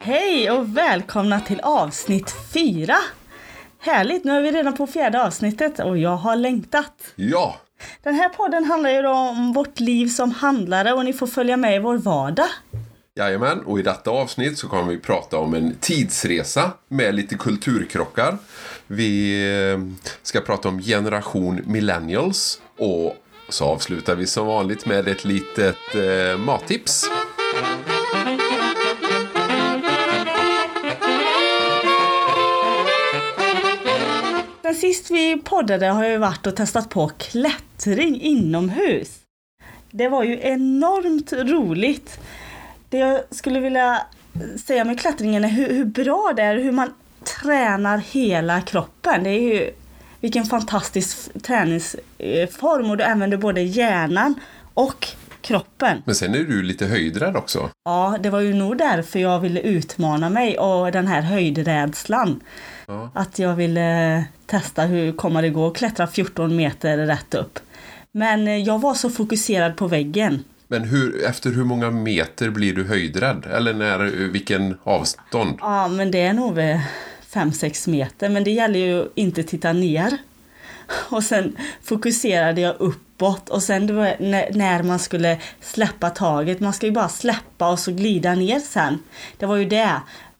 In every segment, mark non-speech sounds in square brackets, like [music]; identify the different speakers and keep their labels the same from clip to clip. Speaker 1: Hej och välkomna till avsnitt fyra. Härligt, nu är vi redan på fjärde avsnittet och jag har längtat.
Speaker 2: Ja,
Speaker 1: Den här podden handlar ju då om vårt liv som handlare och ni får följa med i vår vardag.
Speaker 2: jajamän. Och i detta avsnitt så kommer vi prata om en tidsresa med lite kulturkrockar. Vi eh, ska prata om generation millennials. Och så avslutar vi som vanligt med ett litet eh, mattips.
Speaker 1: Sen sist vi poddade har jag ju varit och testat på klättring inomhus. Det var ju enormt roligt. Det jag skulle vilja säga med klättringen är hur, hur bra det är, hur man tränar hela kroppen. Det är ju vilken fantastisk f- träningsform och du använder både hjärnan och kroppen.
Speaker 2: Men sen är du lite höjdrädd också.
Speaker 1: Ja, det var ju nog därför jag ville utmana mig och den här höjdrädslan.
Speaker 2: Ja.
Speaker 1: Att jag ville eh, testa hur kommer det gå att klättra 14 meter rätt upp. Men eh, jag var så fokuserad på väggen.
Speaker 2: Men hur, efter hur många meter blir du höjdrädd? Eller när, vilken avstånd?
Speaker 1: Ja, men det är nog vid 5-6 meter. Men det gäller ju att inte titta ner. Och sen fokuserade jag uppåt och sen det var när- när man skulle släppa taget. Man ska ju bara släppa och så glida ner sen. Det var ju det.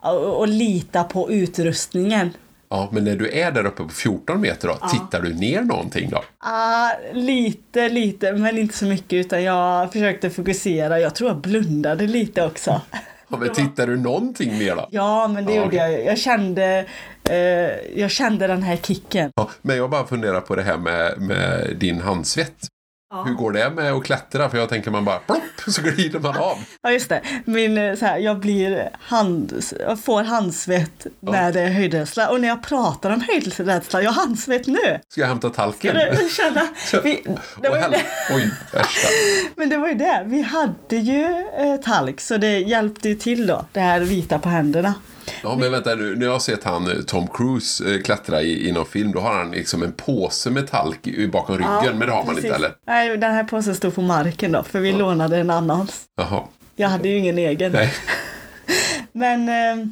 Speaker 1: Och, och lita på utrustningen.
Speaker 2: Ja, men när du är där uppe på 14 meter då, tittar du ner någonting då?
Speaker 1: Ah, lite, lite, men inte så mycket utan jag försökte fokusera. Jag tror jag blundade lite också.
Speaker 2: Ja, men tittar du någonting ner då?
Speaker 1: Ja, men det
Speaker 2: Ja,
Speaker 1: gjorde
Speaker 2: okej.
Speaker 1: jag ju. Jag kände, eh, jag kände den här kicken.
Speaker 2: Ja, men jag bara funderar på det här med, med din handsvett. Hur går det med att klättra? För jag tänker man bara plopp, så glider man av.
Speaker 1: Ja, just det. Min, eh, så här, jag blir hand, jag får handsvett när det är höjdrädsla. Och när jag pratar om höjdrädsla, jag har handsvett nu.
Speaker 2: Ska jag hämta talken? [laughs]
Speaker 1: Du, känna, vi, det
Speaker 2: Och
Speaker 1: var ju
Speaker 2: hälla.
Speaker 1: det.
Speaker 2: Oj, värsta.
Speaker 1: Men det var ju det, vi hade ju eh, talk så det hjälpte ju till då, det här vita på händerna.
Speaker 2: Ja, men vänta nu. När jag har sett han eh, Tom Cruise eh, klättra i, i någon film, då har han liksom en påse med talk i- bakom ryggen. men det har man inte,
Speaker 1: Precis.
Speaker 2: eller?
Speaker 1: Nej, den här påsen stod på marken då, för vi lånade en annans.
Speaker 2: Jaha.
Speaker 1: Jag hade ju ingen egen.
Speaker 2: Nej.
Speaker 1: [laughs] Men eh,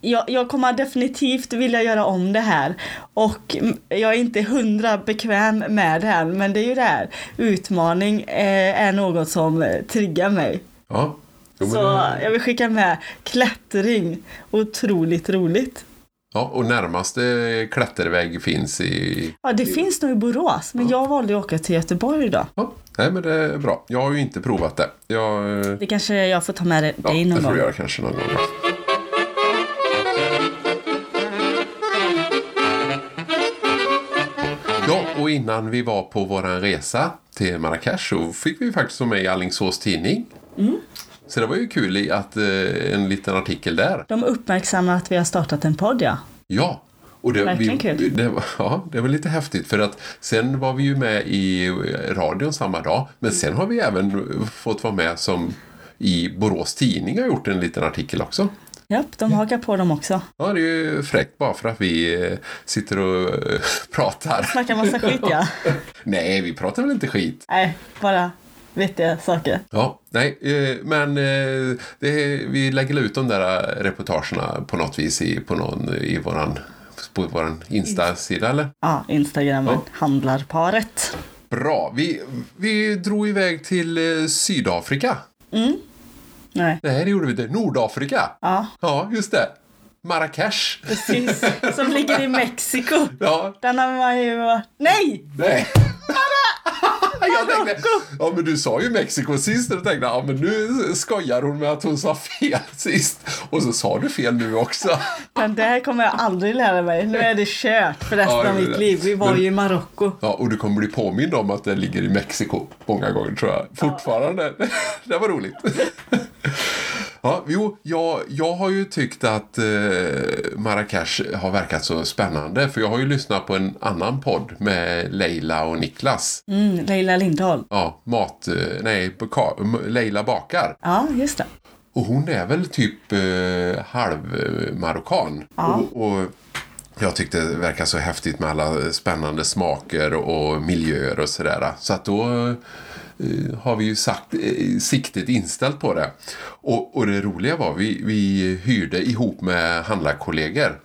Speaker 1: jag, jag kommer definitivt vilja göra om det här. Och mm, jag är inte hundra bekväm med det här, men det är ju det här. Utmaning eh, är något som eh, triggar mig.
Speaker 2: Ja. Jo, men,
Speaker 1: Så
Speaker 2: det-
Speaker 1: jag vill skicka med klättring. Otroligt roligt.
Speaker 2: ja, och närmaste klätterväg finns i...
Speaker 1: Ja, det finns nog i Borås, men jag valde att åka till Göteborg idag.
Speaker 2: Ja, nej, men det är bra. Jag har ju inte provat det. Jag... eh,
Speaker 1: Det kanske jag får ta med dig
Speaker 2: Ja, det
Speaker 1: någon
Speaker 2: får
Speaker 1: gång.
Speaker 2: du göra kanske någon gång. Ja, och innan vi var på våran resa till Marrakesh så fick vi faktiskt vara med i Alingsås tidning.
Speaker 1: Mm.
Speaker 2: Så det var ju kul i att eh, en liten artikel där.
Speaker 1: De uppmärksammar att vi har startat en podd ja.
Speaker 2: Ja. Och det,
Speaker 1: Verkligen kul.
Speaker 2: Det, var- ja, det var lite häftigt för att sen var vi ju med i eh, radion samma dag. Men sen har vi även fått vara med som i Borås Tidning har gjort en liten artikel också.
Speaker 1: Japp,
Speaker 2: Mm.
Speaker 1: de hakar på dem också.
Speaker 2: Ja, det är ju fräckt bara för att vi eh, sitter och eh, [laughs] pratar.
Speaker 1: Snackar massa skit
Speaker 2: [laughs]
Speaker 1: ja.
Speaker 2: Nej, vi pratar väl inte skit.
Speaker 1: Nej, bara vettiga saker.
Speaker 2: Ja, nej, eh, men eh, det, vi lägger ut de där eh, reportagerna på något vis i, på någon, i våran, på våran Insta-sida eller?
Speaker 1: Ja, Instagramen handlarparet.
Speaker 2: Bra, vi, vi drog iväg till eh, Sydafrika.
Speaker 1: Nej,
Speaker 2: Nej, det gjorde vi inte. Nordafrika.
Speaker 1: ja,
Speaker 2: Ja, just det. Marrakesh.
Speaker 1: precis. Som ligger i Mexiko.
Speaker 2: Ja,
Speaker 1: Den har man ju varit... Nej!
Speaker 2: Nej. [laughs] Jag tänkte, ja men du sa ju Mexiko sist och då tänkte jag, ja men nu skojar hon med att hon sa fel sist. Och så sa du fel nu också.
Speaker 1: Den där kommer jag aldrig lära mig. Nu är det kört för resten
Speaker 2: Ja, det
Speaker 1: av
Speaker 2: blir
Speaker 1: mitt
Speaker 2: det.
Speaker 1: liv. Vi var
Speaker 2: Men-
Speaker 1: ju i Marocko.
Speaker 2: Ja, och du kommer bli påmind om att det ligger i Mexiko många gånger tror jag. Fortfarande. [laughs] Det var roligt. Ja, jo, jag, jag har ju tyckt att eh, Marrakesh har verkat så spännande. För jag har ju lyssnat på en annan podd med Leila och Niklas.
Speaker 1: Mm, Leila Lindahl.
Speaker 2: Ja, mat... eh, Nej, baka, Leila bakar.
Speaker 1: Ja, just det.
Speaker 2: Och hon är väl typ eh, halvmarockan. Och, och jag tyckte det verkar så häftigt med alla spännande smaker och miljöer och sådär. Så att då eh, har vi ju sagt, eh, siktet inställt på det. Och, och det roliga var vi, vi hyrde ihop med handlarkollegor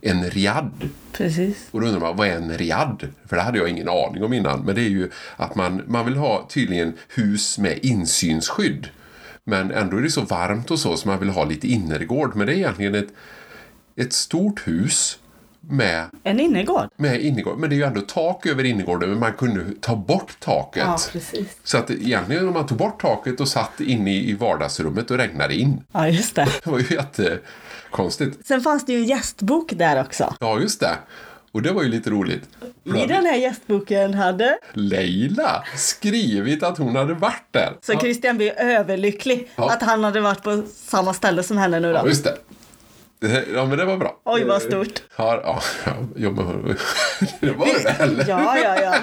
Speaker 2: en riad.
Speaker 1: Precis.
Speaker 2: Och då undrar man, vad är en riad? För det hade jag ingen aning om innan. Men det är ju att man, man vill ha tydligen hus med insynsskydd. Men ändå är det så varmt och så, så man vill ha lite innergård. Men det är egentligen ett, ett stort hus med
Speaker 1: En innergård.
Speaker 2: med innergård. Men det är ju ändå tak över innergården men man kunde ta bort taket.
Speaker 1: precis.
Speaker 2: så att egentligen om man tog bort taket och satt inne i vardagsrummet då regnade det in. [laughs]
Speaker 1: Ja, just det.
Speaker 2: Det var ju jättekonstigt.
Speaker 1: Sen fanns det ju en gästbok där också.
Speaker 2: Ja, just det. Och det var ju lite roligt. För då
Speaker 1: I
Speaker 2: hade
Speaker 1: den här gästboken hade
Speaker 2: Leila skrivit att hon hade varit där.
Speaker 1: så Christian blev överlycklig
Speaker 2: Ja.
Speaker 1: att han hade varit på samma ställe som henne nu
Speaker 2: Ja,
Speaker 1: då.
Speaker 2: just det. Ja, men det var bra. Eh,
Speaker 1: Oj, vad stort.
Speaker 2: Ja, ja, ja men [laughs] det var det väl.
Speaker 1: Ja, ja,
Speaker 2: [laughs]
Speaker 1: ja.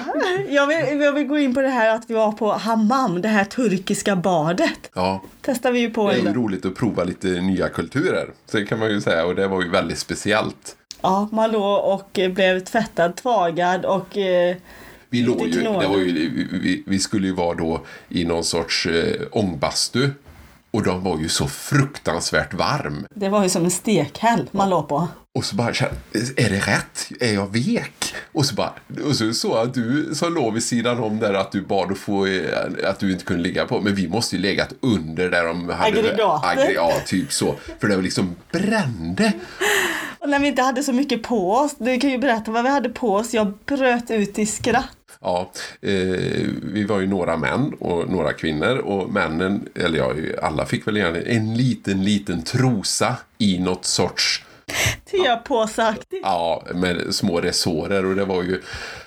Speaker 1: Jag vill, jag vill gå in på det här att vi var på hammam, det här turkiska badet.
Speaker 2: Ja,
Speaker 1: Testar vi ju på.
Speaker 2: det är ju
Speaker 1: en-
Speaker 2: roligt att prova lite nya kulturer. Så det kan man ju säga och det var ju väldigt speciellt.
Speaker 1: Ja, man låg och eh, blev tvättad, tvagad och eh,
Speaker 2: Vi låg
Speaker 1: Lite
Speaker 2: ju, det
Speaker 1: knåda.
Speaker 2: var ju, vi, vi skulle ju vara då i någon sorts eh, ångbastu. Och de var ju så fruktansvärt varm.
Speaker 1: det var ju som en stekhäll man låg på.
Speaker 2: Och så bara kände, är det rätt? Är jag vek? Och så bara, och så såg jag att du som låg vid sidan om där att du bad att få, eh, att du inte kunde ligga på. Men vi måste ju legat under där de hade
Speaker 1: Aggregatet.
Speaker 2: Aggre- Ja, typ så. För det var liksom brände.
Speaker 1: Och när vi inte hade så mycket på oss, du kan ju berätta vad vi hade på oss. Jag bröt ut i skratt.
Speaker 2: Ja, eh, vi var ju några män och några kvinnor och männen, eller ja, alla fick väl gärna en liten, liten trosa i något sorts,
Speaker 1: Tepåseaktigt.
Speaker 2: ja, med små resårer och det var ju,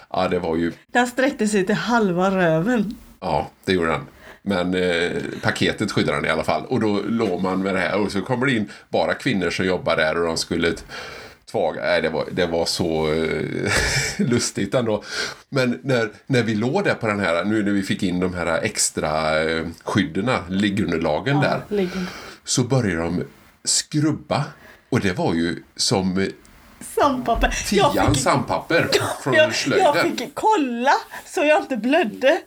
Speaker 2: ja, det var ju,
Speaker 1: Den sträckte sig till halva röven.
Speaker 2: ja, det gjorde han. Men eh, paketet skyddade han i alla fall och då låg man med det här och så kommer det in bara kvinnor som jobbar där och de skulle t- tvaga, nej det var, det var så eh, [laughs] lustigt ändå. Men när, när vi låg där på den här, nu när vi fick in de här extra eh, skyddena, liggunderlagen där,
Speaker 1: Ligger.
Speaker 2: så började de skrubba. Och det var ju som eh,
Speaker 1: Sandpapper. Jag
Speaker 2: tian
Speaker 1: fick,
Speaker 2: sandpapper
Speaker 1: jag,
Speaker 2: från
Speaker 1: jag
Speaker 2: slöjden.
Speaker 1: fick kolla så jag inte blödde.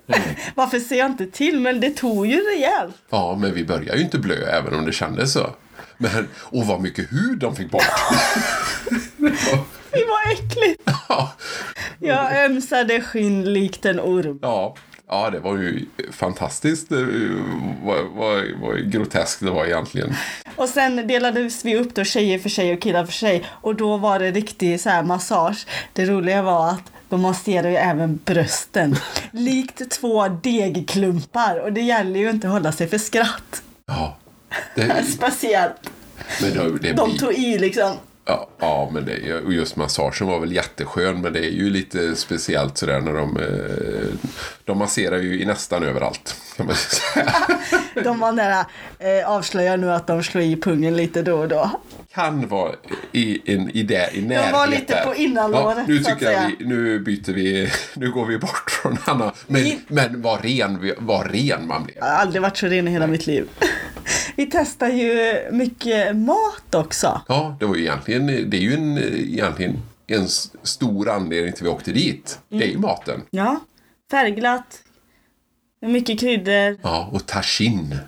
Speaker 1: Varför ser jag inte till? Men det tog ju rejält.
Speaker 2: Ja, men vi började ju inte blöja även om det kändes så. Men, och vad mycket hud de
Speaker 1: [laughs]
Speaker 2: fick bort.
Speaker 1: Det var äckligt.
Speaker 2: ja,
Speaker 1: Jag ömsade skinn likt en orm.
Speaker 2: ja, ja, det var ju fantastiskt eh, vad, vad, vad groteskt det var egentligen.
Speaker 1: Och sen delades vi upp då tjejer för sig och killar för sig. Och då var det riktig så här massage. Det roliga var att de masserade ju även brösten. Likt två degklumpar. Och det gäller ju inte att hålla sig för skratt.
Speaker 2: Ja, det,
Speaker 1: Speciellt.
Speaker 2: men det, det
Speaker 1: [laughs] De
Speaker 2: blir
Speaker 1: tog i liksom.
Speaker 2: Ja, ja men det, är ju- och just massagen var väl jätteskön men det är ju lite speciellt sådär när de eh, De masserar ju i nästan överallt. kan man säga.
Speaker 1: De var nära, eh, avslöjar nu att de slår i pungen lite då och då.
Speaker 2: Kan vara i, in, i, det, i närheten.
Speaker 1: var lite på innanlåret,
Speaker 2: nu
Speaker 1: så att
Speaker 2: tycker jag
Speaker 1: säga.
Speaker 2: vi, nu byter vi, nu går vi bort från Anna. Men,
Speaker 1: I-
Speaker 2: men vad ren, vi- vad ren man blev.
Speaker 1: Jag har aldrig varit så ren i hela mitt liv. [laughs] Vi testar ju mycket mat också.
Speaker 2: Ja, det var ju egentligen, det är ju en, egentligen en s- stor anledning till vi åkte dit. Det är
Speaker 1: Mm.
Speaker 2: ju maten.
Speaker 1: Ja, färgglatt. med Mycket kryddor.
Speaker 2: Ja, och tagine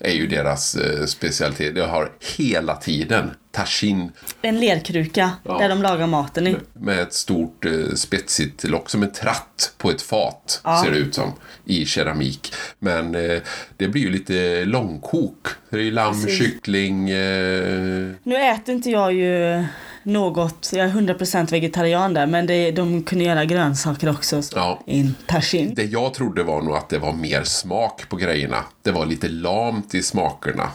Speaker 2: är ju deras eh, specialitet. Jag har hela tiden tagine
Speaker 1: En lerkruka
Speaker 2: Ja.
Speaker 1: där de lagar maten i.
Speaker 2: med ett stort eh, spetsigt lock, som en tratt på ett fat
Speaker 1: Ja.
Speaker 2: ser det ut som, i keramik. Men eh, det blir ju lite långkok. Det är ju lamm,
Speaker 1: Precis.
Speaker 2: kyckling, eh,
Speaker 1: Nu äter inte jag ju något, jag är 100% vegetarian där, men det, de kunde göra grönsaker också. Så.
Speaker 2: ja.
Speaker 1: In tajin.
Speaker 2: Det jag trodde var nog att det var mer smak på grejerna. Det var lite lamt i smakerna.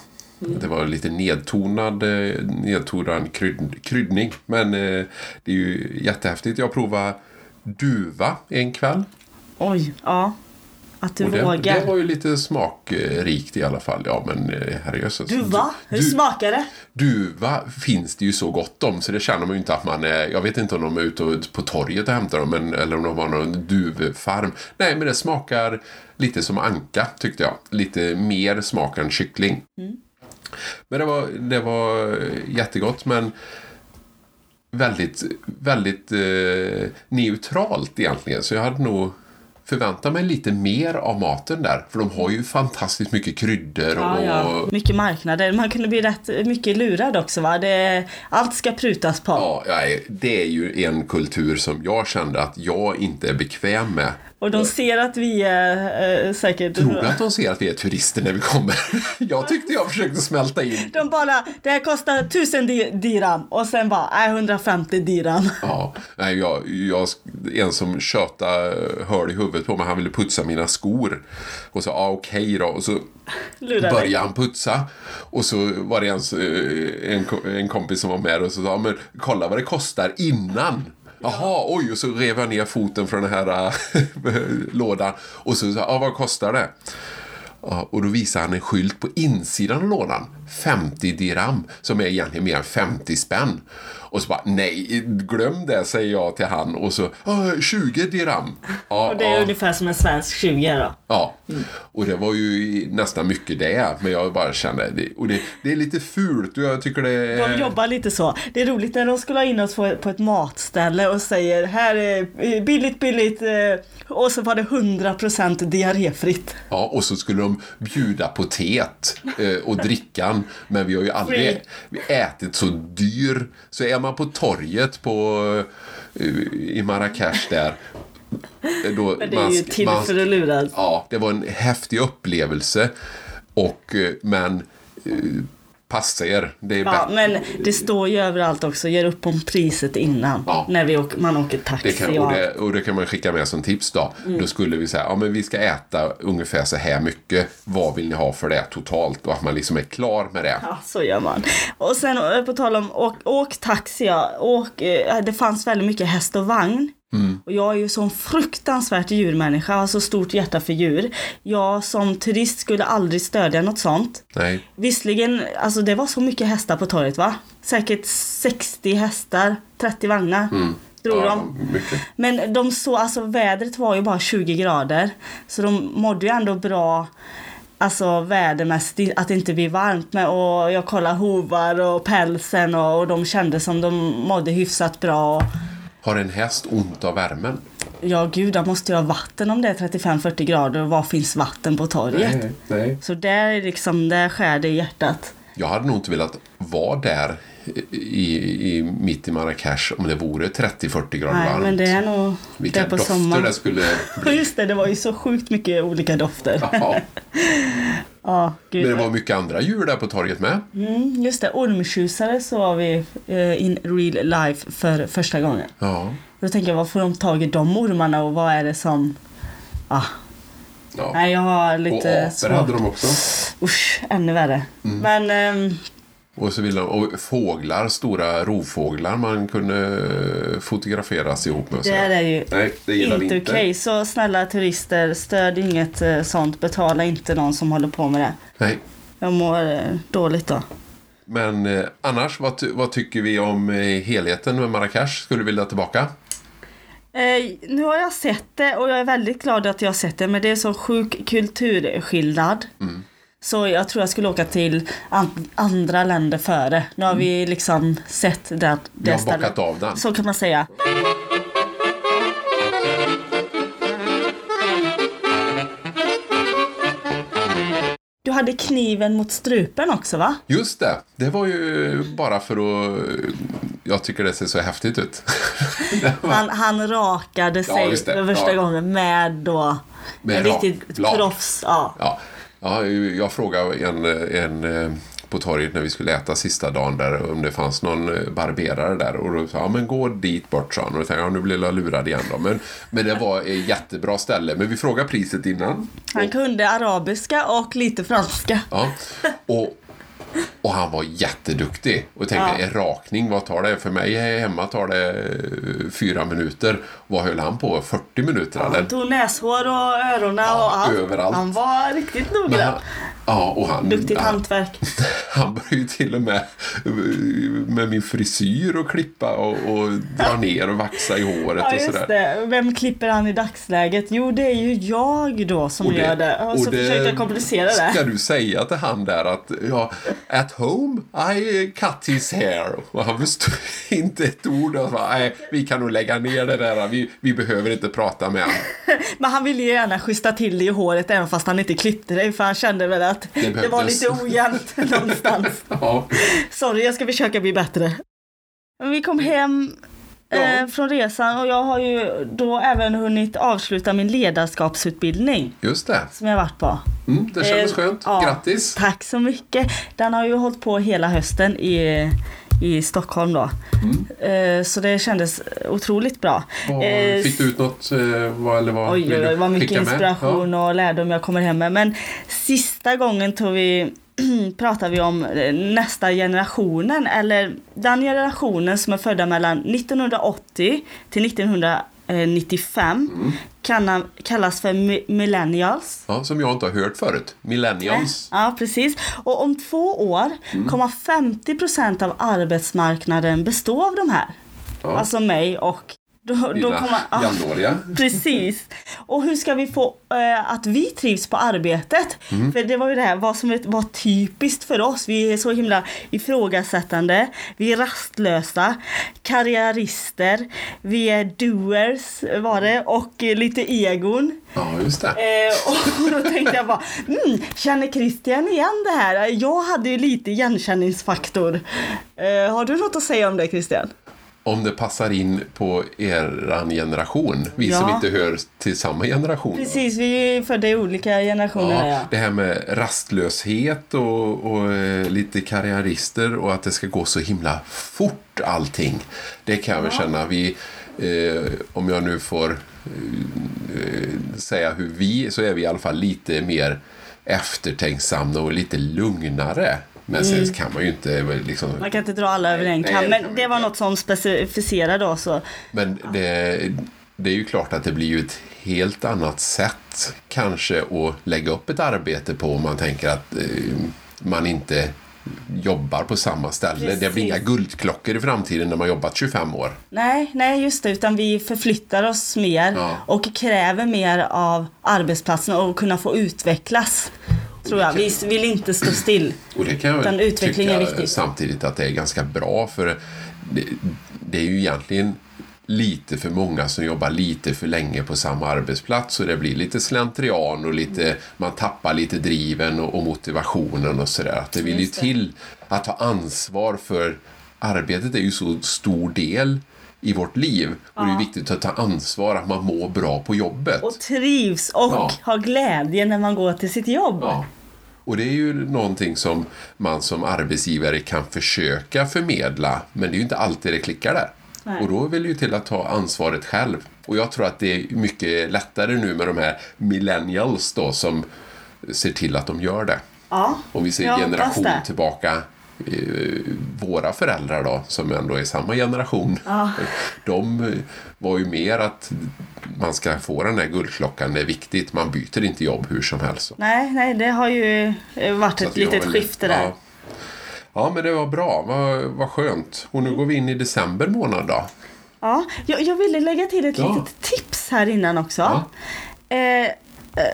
Speaker 1: Mm.
Speaker 2: Det var lite nedtonad, eh, nedtonad krydd, kryddning. Men eh, det är ju jättehäftigt. Jag provade duva en kväll.
Speaker 1: Oj, ja. Att du
Speaker 2: Och det,
Speaker 1: vågar.
Speaker 2: det var ju lite smakrikt i alla fall. Ja, men eh, herrejösses.
Speaker 1: Du va? Hur
Speaker 2: Du-
Speaker 1: smakar det?
Speaker 2: Duva finns det ju så gott om så det känner man ju inte att man är. Jag vet inte om de är ute och- på torget och hämtar dem men, eller om de har någon duvfarm. Nej men det smakar lite som anka tyckte jag. Lite mer smak än kyckling.
Speaker 1: Mm.
Speaker 2: Men det var, det var jättegott men väldigt, väldigt eh, neutralt egentligen. Så jag hade nog förväntar mig lite mer av maten där. För de har ju fantastiskt mycket kryddor och...
Speaker 1: Ja, ja. Mycket marknader. Man kunde bli rätt mycket lurad också va? Det, allt ska prutas på.
Speaker 2: Ja, nej, det är ju en kultur som jag kände att jag inte är bekväm med.
Speaker 1: Och de ser att vi är eh, säkert...
Speaker 2: Tror du att de ser att vi är turister när vi kommer? [laughs] Jag tyckte jag försökte smälta in.
Speaker 1: De bara, det här kostar 1000 di- dirham och sen bara, nej 150 dirham.
Speaker 2: Ja, nej, jag, jag, en som tjöta eh, hörde i huvudet på mig, han ville putsa mina skor. Och så, ja okej då. Och så
Speaker 1: Lurar dig.
Speaker 2: började han putsa. Och så var det en, s- eh, en, ko- en kompis som var med och så sa, men kolla vad det kostar innan. Jaha, oj, och så rev jag ner foten från den här eh, [laughs] lådan. Och så sa jag, ah, vad kostar det? Ja, Och då visar han en skylt på insidan av lådan. 50 dirham, som är egentligen mer än 50 spänn. Och så bara, nej, glöm det, säger jag till han. Och så, "Ah, 20 dirham. Ja,
Speaker 1: Och det är
Speaker 2: ja.
Speaker 1: ungefär som en svensk 20 då.
Speaker 2: Ja,
Speaker 1: Mm.
Speaker 2: och det var ju nästan mycket det. Men jag bara kände, det, och det, det är lite fult och jag tycker det
Speaker 1: De jobbar lite så. Det är roligt när de skulle ha in oss på, på ett matställe och säger här är eh, billigt, billigt eh, och så var det 100% diarréfritt.
Speaker 2: Ja, och så skulle de bjuda på teet eh, och drickan. Men vi har ju aldrig
Speaker 1: Free.
Speaker 2: vi ätit så dyr. Så är man på torget på, eh, i Marrakesh där. eh, Då
Speaker 1: Men det är ju
Speaker 2: sk-
Speaker 1: till för att luras.
Speaker 2: Ja, det var en häftig upplevelse. Och, eh, men eh, passa er. Det är
Speaker 1: Ja,
Speaker 2: bättre.
Speaker 1: men det står ju överallt också, ger upp om priset innan.
Speaker 2: Ja.
Speaker 1: När vi åker, man åker
Speaker 2: Det
Speaker 1: taxi.
Speaker 2: kan,
Speaker 1: och
Speaker 2: och,
Speaker 1: allt.
Speaker 2: det, och det kan man skicka med som tips då.
Speaker 1: Mm.
Speaker 2: Då skulle vi säga, ja men vi ska äta ungefär så här mycket. Vad vill ni ha för det totalt? Och att man liksom är klar med det.
Speaker 1: Ja, så gör man. Och sen eh, på tal om åk, åk taxi, ja. åk, eh, det fanns väldigt mycket häst och vagn. Och jag är ju sån fruktansvärt djurmänniska, har så stort hjärta för djur. Jag som turist skulle aldrig stödja något sånt.
Speaker 2: Nej.
Speaker 1: Visserligen, alltså det var så mycket hästar på torget va? Säkert 60 hästar, 30 vagnar. Tror de.
Speaker 2: Ja, mycket.
Speaker 1: Men de så, alltså vädret var ju bara 20 grader. Så de mådde ju ändå bra, alltså vädermässigt, att det inte blir varmt. Men, och jag kollade hovar och pälsen och, och de kände som de mådde hyfsat bra. Och,
Speaker 2: Har en häst ont av värmen?
Speaker 1: ja gud, där måste jag ha vatten om det är 35-40 grader och var finns vatten på torget?
Speaker 2: nej.
Speaker 1: Så där är liksom, där skär det i hjärtat.
Speaker 2: Jag hade nog inte velat vara där i, i, mitt i Marrakesh om det vore 30-40 grader
Speaker 1: Nej,
Speaker 2: varmt.
Speaker 1: men det är nog
Speaker 2: Vilka
Speaker 1: där på
Speaker 2: dofter
Speaker 1: sommaren.
Speaker 2: det skulle [laughs]
Speaker 1: Och
Speaker 2: bli.
Speaker 1: [laughs] just det, det var ju så sjukt mycket olika dofter. Ja,
Speaker 2: Ja.
Speaker 1: gud.
Speaker 2: Men det var mycket andra djur där på torget med.
Speaker 1: Mm, just det, ormtjusare så var vi eh, in real life för första gången.
Speaker 2: Ja.
Speaker 1: Då tänker jag, var får de tag i de ormarna och vad är det som... Ah,
Speaker 2: ja.
Speaker 1: nej, jag har
Speaker 2: Och
Speaker 1: lite
Speaker 2: apor hade de också.
Speaker 1: Usch, ännu värre. Men ehm,
Speaker 2: Och, så ville de, och fåglar, stora rovfåglar man kunde eh, fotograferas ihop med. och så.
Speaker 1: det här är ju
Speaker 2: Nej, det gillar
Speaker 1: inte
Speaker 2: vi
Speaker 1: okej. Så snälla turister, stöd inget eh, sånt. Betala inte någon som håller på med det.
Speaker 2: Nej.
Speaker 1: Jag mår eh, dåligt då.
Speaker 2: Men eh, annars, vad, ty- vad tycker vi om eh, helheten med Marrakesh? Skulle du vilja tillbaka?
Speaker 1: Eh, nu har jag sett det och jag är väldigt glad att jag har sett det men det är så sjuk kulturskillnad.
Speaker 2: Mm.
Speaker 1: Så jag tror jag skulle åka till an- andra länder före. Nu har vi liksom sett det, det
Speaker 2: Mm. Vi har bockat av den.
Speaker 1: Så kan man säga. Du hade kniven mot strupen också va?
Speaker 2: Just det, det var ju bara för att... eh, Jag tycker det ser så häftigt ut. [laughs]
Speaker 1: Han, han rakade sig
Speaker 2: just det.
Speaker 1: för första
Speaker 2: Ja.
Speaker 1: gången med då
Speaker 2: Med
Speaker 1: en
Speaker 2: rak-
Speaker 1: riktigt
Speaker 2: lak.
Speaker 1: proffs. Ja.
Speaker 2: ja. ja, jag frågade en, en eh, på torget när vi skulle äta sista dagen där om det fanns någon eh, barberare där. Och då sa han, ja, men gå dit bort, sa han. Och då tänkte jag, ja, nu blev jag lurad igen då. Men, men det var ett jättebra ställe. Men vi frågade priset innan.
Speaker 1: Han kunde arabiska och lite franska.
Speaker 2: Ja. Och, och han var jätteduktig. Och tänkte, en rakning, vad tar det? För mig här hemma tar det eh, fyra minuter. Vad höll han på? 40 minuter eller?
Speaker 1: Han tog näshår och öronen och allt.
Speaker 2: överallt.
Speaker 1: Han var riktigt noggrann.
Speaker 2: Men han, Ja, och han,
Speaker 1: Duktigt
Speaker 2: han,
Speaker 1: hantverk.
Speaker 2: [laughs] han började ju till och med med min frisyr och klippa och, och
Speaker 1: [laughs]
Speaker 2: dra ner och vaxa i håret
Speaker 1: Ja
Speaker 2: och
Speaker 1: just
Speaker 2: sådär.
Speaker 1: det. Vem klipper han i dagsläget? Jo det är ju jag då som
Speaker 2: Och
Speaker 1: gör det. Och, så försökte jag komplicera det.
Speaker 2: Ska du säga till han där att ja, at home I cut his hair. Och han förstod [laughs] inte ett ord. Och sa, Nej, vi kan nog lägga ner det där. Vi, vi behöver inte prata
Speaker 1: [laughs]
Speaker 2: med honom.
Speaker 1: Men han ville ju gärna schyssta till det i håret även fast han inte klippte det för han kände väl att det,
Speaker 2: behövdes.
Speaker 1: var lite ojämnt [laughs] någonstans.
Speaker 2: Ja.
Speaker 1: Sorry, jag ska försöka bli bättre. Vi kom hem eh,
Speaker 2: Ja.
Speaker 1: från resan och jag har ju då även hunnit avsluta min ledarskapsutbildning
Speaker 2: Just det.
Speaker 1: som jag varit på.
Speaker 2: Mm, det kändes
Speaker 1: Eh,
Speaker 2: skönt.
Speaker 1: ja.
Speaker 2: Grattis.
Speaker 1: Tack så mycket. Den har ju hållit på hela hösten i, i Stockholm då. Eh, Så det kändes otroligt bra. Eh,
Speaker 2: Vad- Fick du ut något? eh, Vad, eller vad
Speaker 1: Oj,
Speaker 2: vill
Speaker 1: oj,
Speaker 2: du
Speaker 1: oj, vad mycket
Speaker 2: skicka med?
Speaker 1: inspiration och lärdom jag kommer hem med. Men sista gången tog vi, [clears throat] pratade vi om eh, nästa generationen, eller den generationen som är födda mellan 1980 till 1995
Speaker 2: Mm.
Speaker 1: kan, kallas för mi- millennials.
Speaker 2: Ja, som jag inte har hört förut. Millennials. Mm.
Speaker 1: Ja, precis. Och om två år kommer 50% av arbetsmarknaden bestå av de här.
Speaker 2: Ja.
Speaker 1: Alltså mig och... Då, då
Speaker 2: Dina
Speaker 1: kommer, ah. ja,
Speaker 2: jämnåriga.
Speaker 1: precis. Och hur ska vi få eh, att vi trivs på arbetet? För det var ju det här, vad som var typiskt för oss. Vi är så himla ifrågasättande, vi är rastlösa, karriärister, vi är doers var det och eh, lite egon.
Speaker 2: Ja, just det.
Speaker 1: Eh, och [laughs] då tänkte jag bara, mm, känner Christian igen det här? Jag hade ju lite igenkänningsfaktor. Eh, har du något att säga om det Christian?
Speaker 2: Om det passar in på eran generation. Vi
Speaker 1: Ja.
Speaker 2: som inte hör till samma generation.
Speaker 1: Precis, vi är ju födda i olika generationer.
Speaker 2: Ja,
Speaker 1: Ja,
Speaker 2: det här med rastlöshet och, och eh, lite karriärister och att det ska gå så himla fort allting. Det kan jag väl känna. Vi, eh, om jag nu får eh, säga hur vi så är vi i alla fall lite mer eftertänksamma och lite lugnare. Men sen kan man ju inte eh, liksom...
Speaker 1: Man kan inte dra alla över en
Speaker 2: nej,
Speaker 1: kam,
Speaker 2: det kan
Speaker 1: men
Speaker 2: man
Speaker 1: det var
Speaker 2: inte.
Speaker 1: något som specificerade oss. och-
Speaker 2: Men det, det är ju klart att det blir ju ett helt annat sätt kanske att lägga upp ett arbete på om man tänker att eh, man inte jobbar på samma ställe. Det blir inga
Speaker 1: Precis.
Speaker 2: guldklockor i framtiden när man jobbat 25 år.
Speaker 1: Nej, nej just det, utan vi förflyttar oss mer
Speaker 2: Ja.
Speaker 1: och kräver mer av arbetsplatsen och kunna få utvecklas. Tror jag. Vi vill inte stå still.
Speaker 2: Och det kan jag
Speaker 1: Utan
Speaker 2: väl
Speaker 1: utveckling är
Speaker 2: tycka
Speaker 1: viktigt.
Speaker 2: samtidigt att det är ganska bra för det, det är ju egentligen lite för många som jobbar lite för länge på samma arbetsplats och det blir lite slentrian och lite, man tappar lite driven och, och motivationen och sådär. Att det vill ju
Speaker 1: Just det.
Speaker 2: till att ta ansvar för arbetet är ju så stor del i vårt liv och det är viktigt att ta ansvar att man mår bra på jobbet.
Speaker 1: Och trivs och
Speaker 2: Ja.
Speaker 1: har glädje när man går till sitt jobb.
Speaker 2: Ja. Och det är ju någonting som man som arbetsgivare kan försöka förmedla, men det är ju inte alltid det klickar där.
Speaker 1: Nej.
Speaker 2: Och då vill det ju till att ta ansvaret själv. Och jag tror att det är mycket lättare nu med de här millennials då som ser till att de gör det.
Speaker 1: Ja,
Speaker 2: Om vi ser
Speaker 1: jag hoppas
Speaker 2: generation
Speaker 1: det.
Speaker 2: tillbaka, eh, våra föräldrar då, som ändå är samma generation.
Speaker 1: Ja.
Speaker 2: De eh, var ju mer att man ska få den här guldklockan, det är viktigt, man byter inte jobb hur som helst.
Speaker 1: Nej, nej, det har ju eh, varit
Speaker 2: Så
Speaker 1: ett
Speaker 2: att vi har
Speaker 1: litet
Speaker 2: väl-
Speaker 1: skifte där.
Speaker 2: Ja. ja, men det var bra. Vad, vad skönt. Och nu går vi in i december månad då.
Speaker 1: Ja, jag, jag ville lägga till ett
Speaker 2: Ja.
Speaker 1: litet tips här innan också.
Speaker 2: Ja.
Speaker 1: Eh, eh,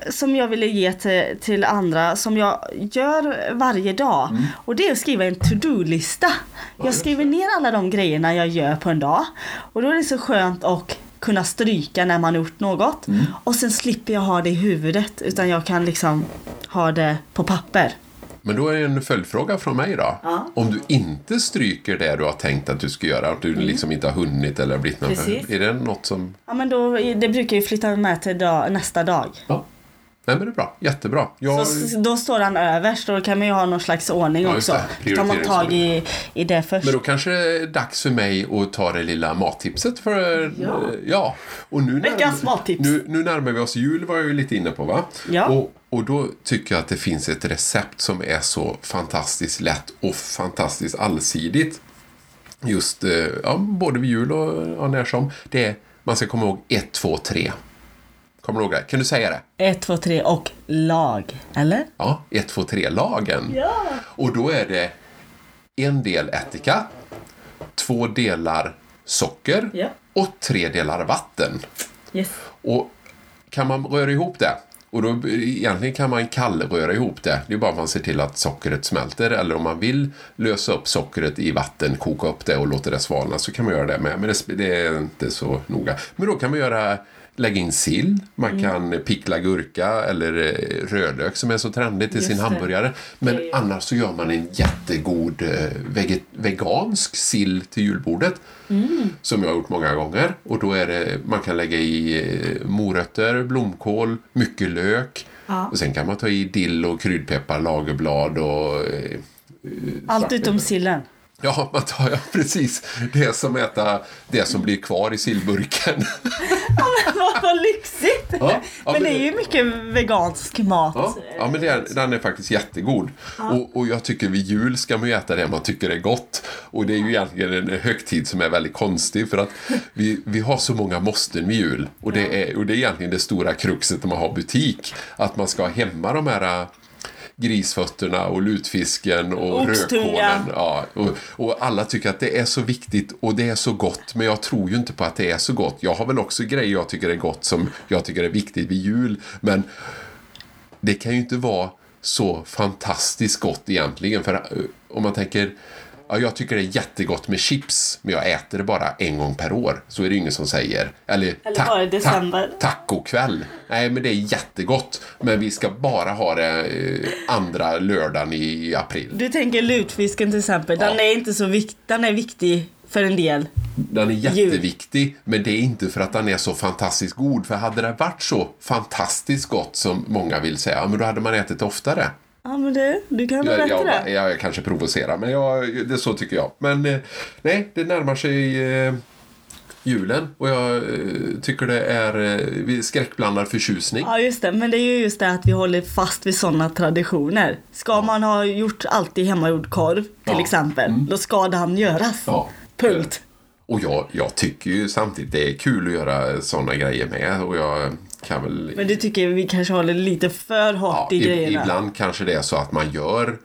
Speaker 1: som jag ville ge till, till andra som jag gör varje dag. Och det är att skriva en to-do-lista. jag
Speaker 2: Mm. just
Speaker 1: skriver ner alla de grejerna jag gör på en dag. Och då är det så skönt att kunna stryka när man har gjort något.
Speaker 2: Mm.
Speaker 1: Och sen slipper jag ha det i huvudet utan jag kan liksom ha det på papper.
Speaker 2: Men då är det en följdfråga från mig då.
Speaker 1: Ja.
Speaker 2: Om du inte stryker det du har tänkt att du ska göra, att du liksom inte har hunnit eller blivit någon
Speaker 1: Mm. Precis.
Speaker 2: Är det något som...
Speaker 1: Ja men då, det brukar ju flytta med till dag, nästa dag.
Speaker 2: Ja. Nej, men det är bra. Jättebra. Jag...
Speaker 1: Så, s- då står han överst och då kan man ju ha någon slags ordning
Speaker 2: Ja, just
Speaker 1: också.
Speaker 2: det.
Speaker 1: Då tar man tag i, i det först.
Speaker 2: Men då kanske det är dags för mig att ta det lilla mattipset för...
Speaker 1: Ja.
Speaker 2: ja. Och nu
Speaker 1: Veckans mattips.
Speaker 2: Nu, nu närmar vi oss jul var jag ju lite inne på va?
Speaker 1: Ja.
Speaker 2: Och, och då tycker jag att det finns ett recept som är så fantastiskt lätt och fantastiskt allsidigt. Just eh, ja, både vid jul och, och när som. Det är, man ska komma ihåg 1, 2, 3. Kommer du ihåg det? Kan du säga det?
Speaker 1: Ett, två, tre och lag. Eller?
Speaker 2: Ja, 1, 2, 3-lagen.
Speaker 1: Ja.
Speaker 2: Och då är det en del ättika, två delar socker
Speaker 1: Ja.
Speaker 2: och tre delar vatten.
Speaker 1: Yes.
Speaker 2: Och kan man röra ihop det? Och då, egentligen kan man kallröra ihop det. Det är bara om man ser till att sockret smälter eller om man vill lösa upp sockret i vatten, koka upp det och låta det svalna så kan man göra det med. Men det, sp- det är inte så noga. Men då kan man göra lägga in sill, man kan pickla gurka eller eh, rödlök som är så trendigt i sin
Speaker 1: det.
Speaker 2: hamburgare. Men annars så gör man en jättegod eh, veget- vegansk sill till julbordet
Speaker 1: Mm.
Speaker 2: som jag har gjort många gånger. Och då är det, man kan lägga i eh, morötter, blomkål, mycket lök.
Speaker 1: Ja.
Speaker 2: Och sen kan man ta i dill och kryddpeppar, lagerblad och... eh,
Speaker 1: Allt utom sillen. [laughs]
Speaker 2: Ja, man tar [laughs] ja, precis det som, äta, det som blir kvar i sillburken.
Speaker 1: Vad vad lyxigt!
Speaker 2: Ja, ja,
Speaker 1: men det
Speaker 2: men-
Speaker 1: är ju mycket vegansk mat.
Speaker 2: Ja, ja men det är, den är faktiskt jättegod. Och, och jag tycker vid jul ska man ju äta det man tycker är gott. Och det är ju egentligen en högtid som är väldigt konstig för att vi, vi har så många måsten vid jul. Och det, är, och det är egentligen det stora kruxet när man har butik. Att man ska ha hemma de här äh, grisfötterna och lutfisken och
Speaker 1: Oxtunga.
Speaker 2: rödkålen. Ja, och, och alla tycker att det är så viktigt och det är så gott men jag tror ju inte på att det är så gott. Jag har väl också grejer jag tycker är gott som jag tycker är viktigt vid jul men det kan ju inte vara så fantastiskt gott egentligen. För eh, om man tänker, ja, jag tycker det är jättegott med chips, men jag äter det bara en gång per år. Så är det ingen som säger. Eller,
Speaker 1: Eller bara i december.
Speaker 2: Ta, tacokväll. Nej, men det är jättegott. Men vi ska bara ha det eh, andra lördagen i april.
Speaker 1: Du tänker lutfisken till exempel. Den
Speaker 2: Ja.
Speaker 1: är inte så viktig. Den är viktig för en del.
Speaker 2: Den är jätteviktig, men det är inte för att den är så fantastiskt god. För hade det varit så fantastiskt gott som många vill säga, ja, men då hade man ätit det oftare.
Speaker 1: Ja men det, du kan ha
Speaker 2: Jag,
Speaker 1: rätt i
Speaker 2: jag,
Speaker 1: det.
Speaker 2: jag, jag kanske provocerar, men jag, det, så tycker jag. Men eh, nej, det närmar sig eh, julen och jag eh, tycker det är eh, vi- skräckblandad förtjusning.
Speaker 1: Ja just det, men det är ju just det att vi håller fast vid sådana traditioner. Ska man ha gjort alltid hemmagjord korv till
Speaker 2: Ja. Mm.
Speaker 1: exempel, då ska den göras.
Speaker 2: Ja.
Speaker 1: Punkt.
Speaker 2: Och jag, jag tycker ju samtidigt det är kul att göra sådana grejer med och jag kan väl...
Speaker 1: Men du tycker vi kanske håller lite för hårt
Speaker 2: ja,
Speaker 1: i
Speaker 2: i-
Speaker 1: grejerna.
Speaker 2: ibland kanske det är så att man gör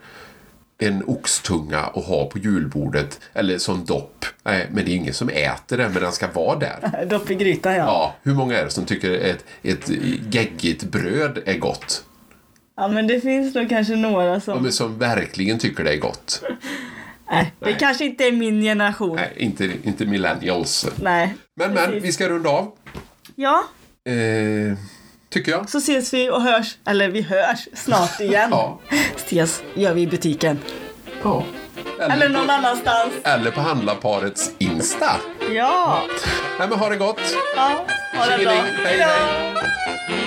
Speaker 2: en oxtunga och har på julbordet eller som dopp. Nej, men det är ingen som äter den, men den ska vara där.
Speaker 1: [laughs] Dopp i grytan ja. ja.
Speaker 2: Ja, hur många är det som tycker ett, ett geggigt bröd är gott?
Speaker 1: men det finns nog kanske några som...
Speaker 2: Ja, men som verkligen tycker det är gott.
Speaker 1: Nej, det kanske inte är min generation. Nej.
Speaker 2: Nej, inte, inte millennials. Men, men,
Speaker 1: Precis.
Speaker 2: vi ska runda av.
Speaker 1: Ja,
Speaker 2: Eh, tycker jag.
Speaker 1: så ses vi och hörs, eller vi hörs
Speaker 2: [laughs]
Speaker 1: snart igen.
Speaker 2: Ja.
Speaker 1: Ses gör vi i butiken.
Speaker 2: ja.
Speaker 1: Eller
Speaker 2: Eller,
Speaker 1: någon annanstans.
Speaker 2: eller på handlarparets Insta.
Speaker 1: Ja.
Speaker 2: Nej, men ha det gott.
Speaker 1: ja. Ha det bra.
Speaker 2: Tjingeling. Hej, hej.
Speaker 1: Hejdå.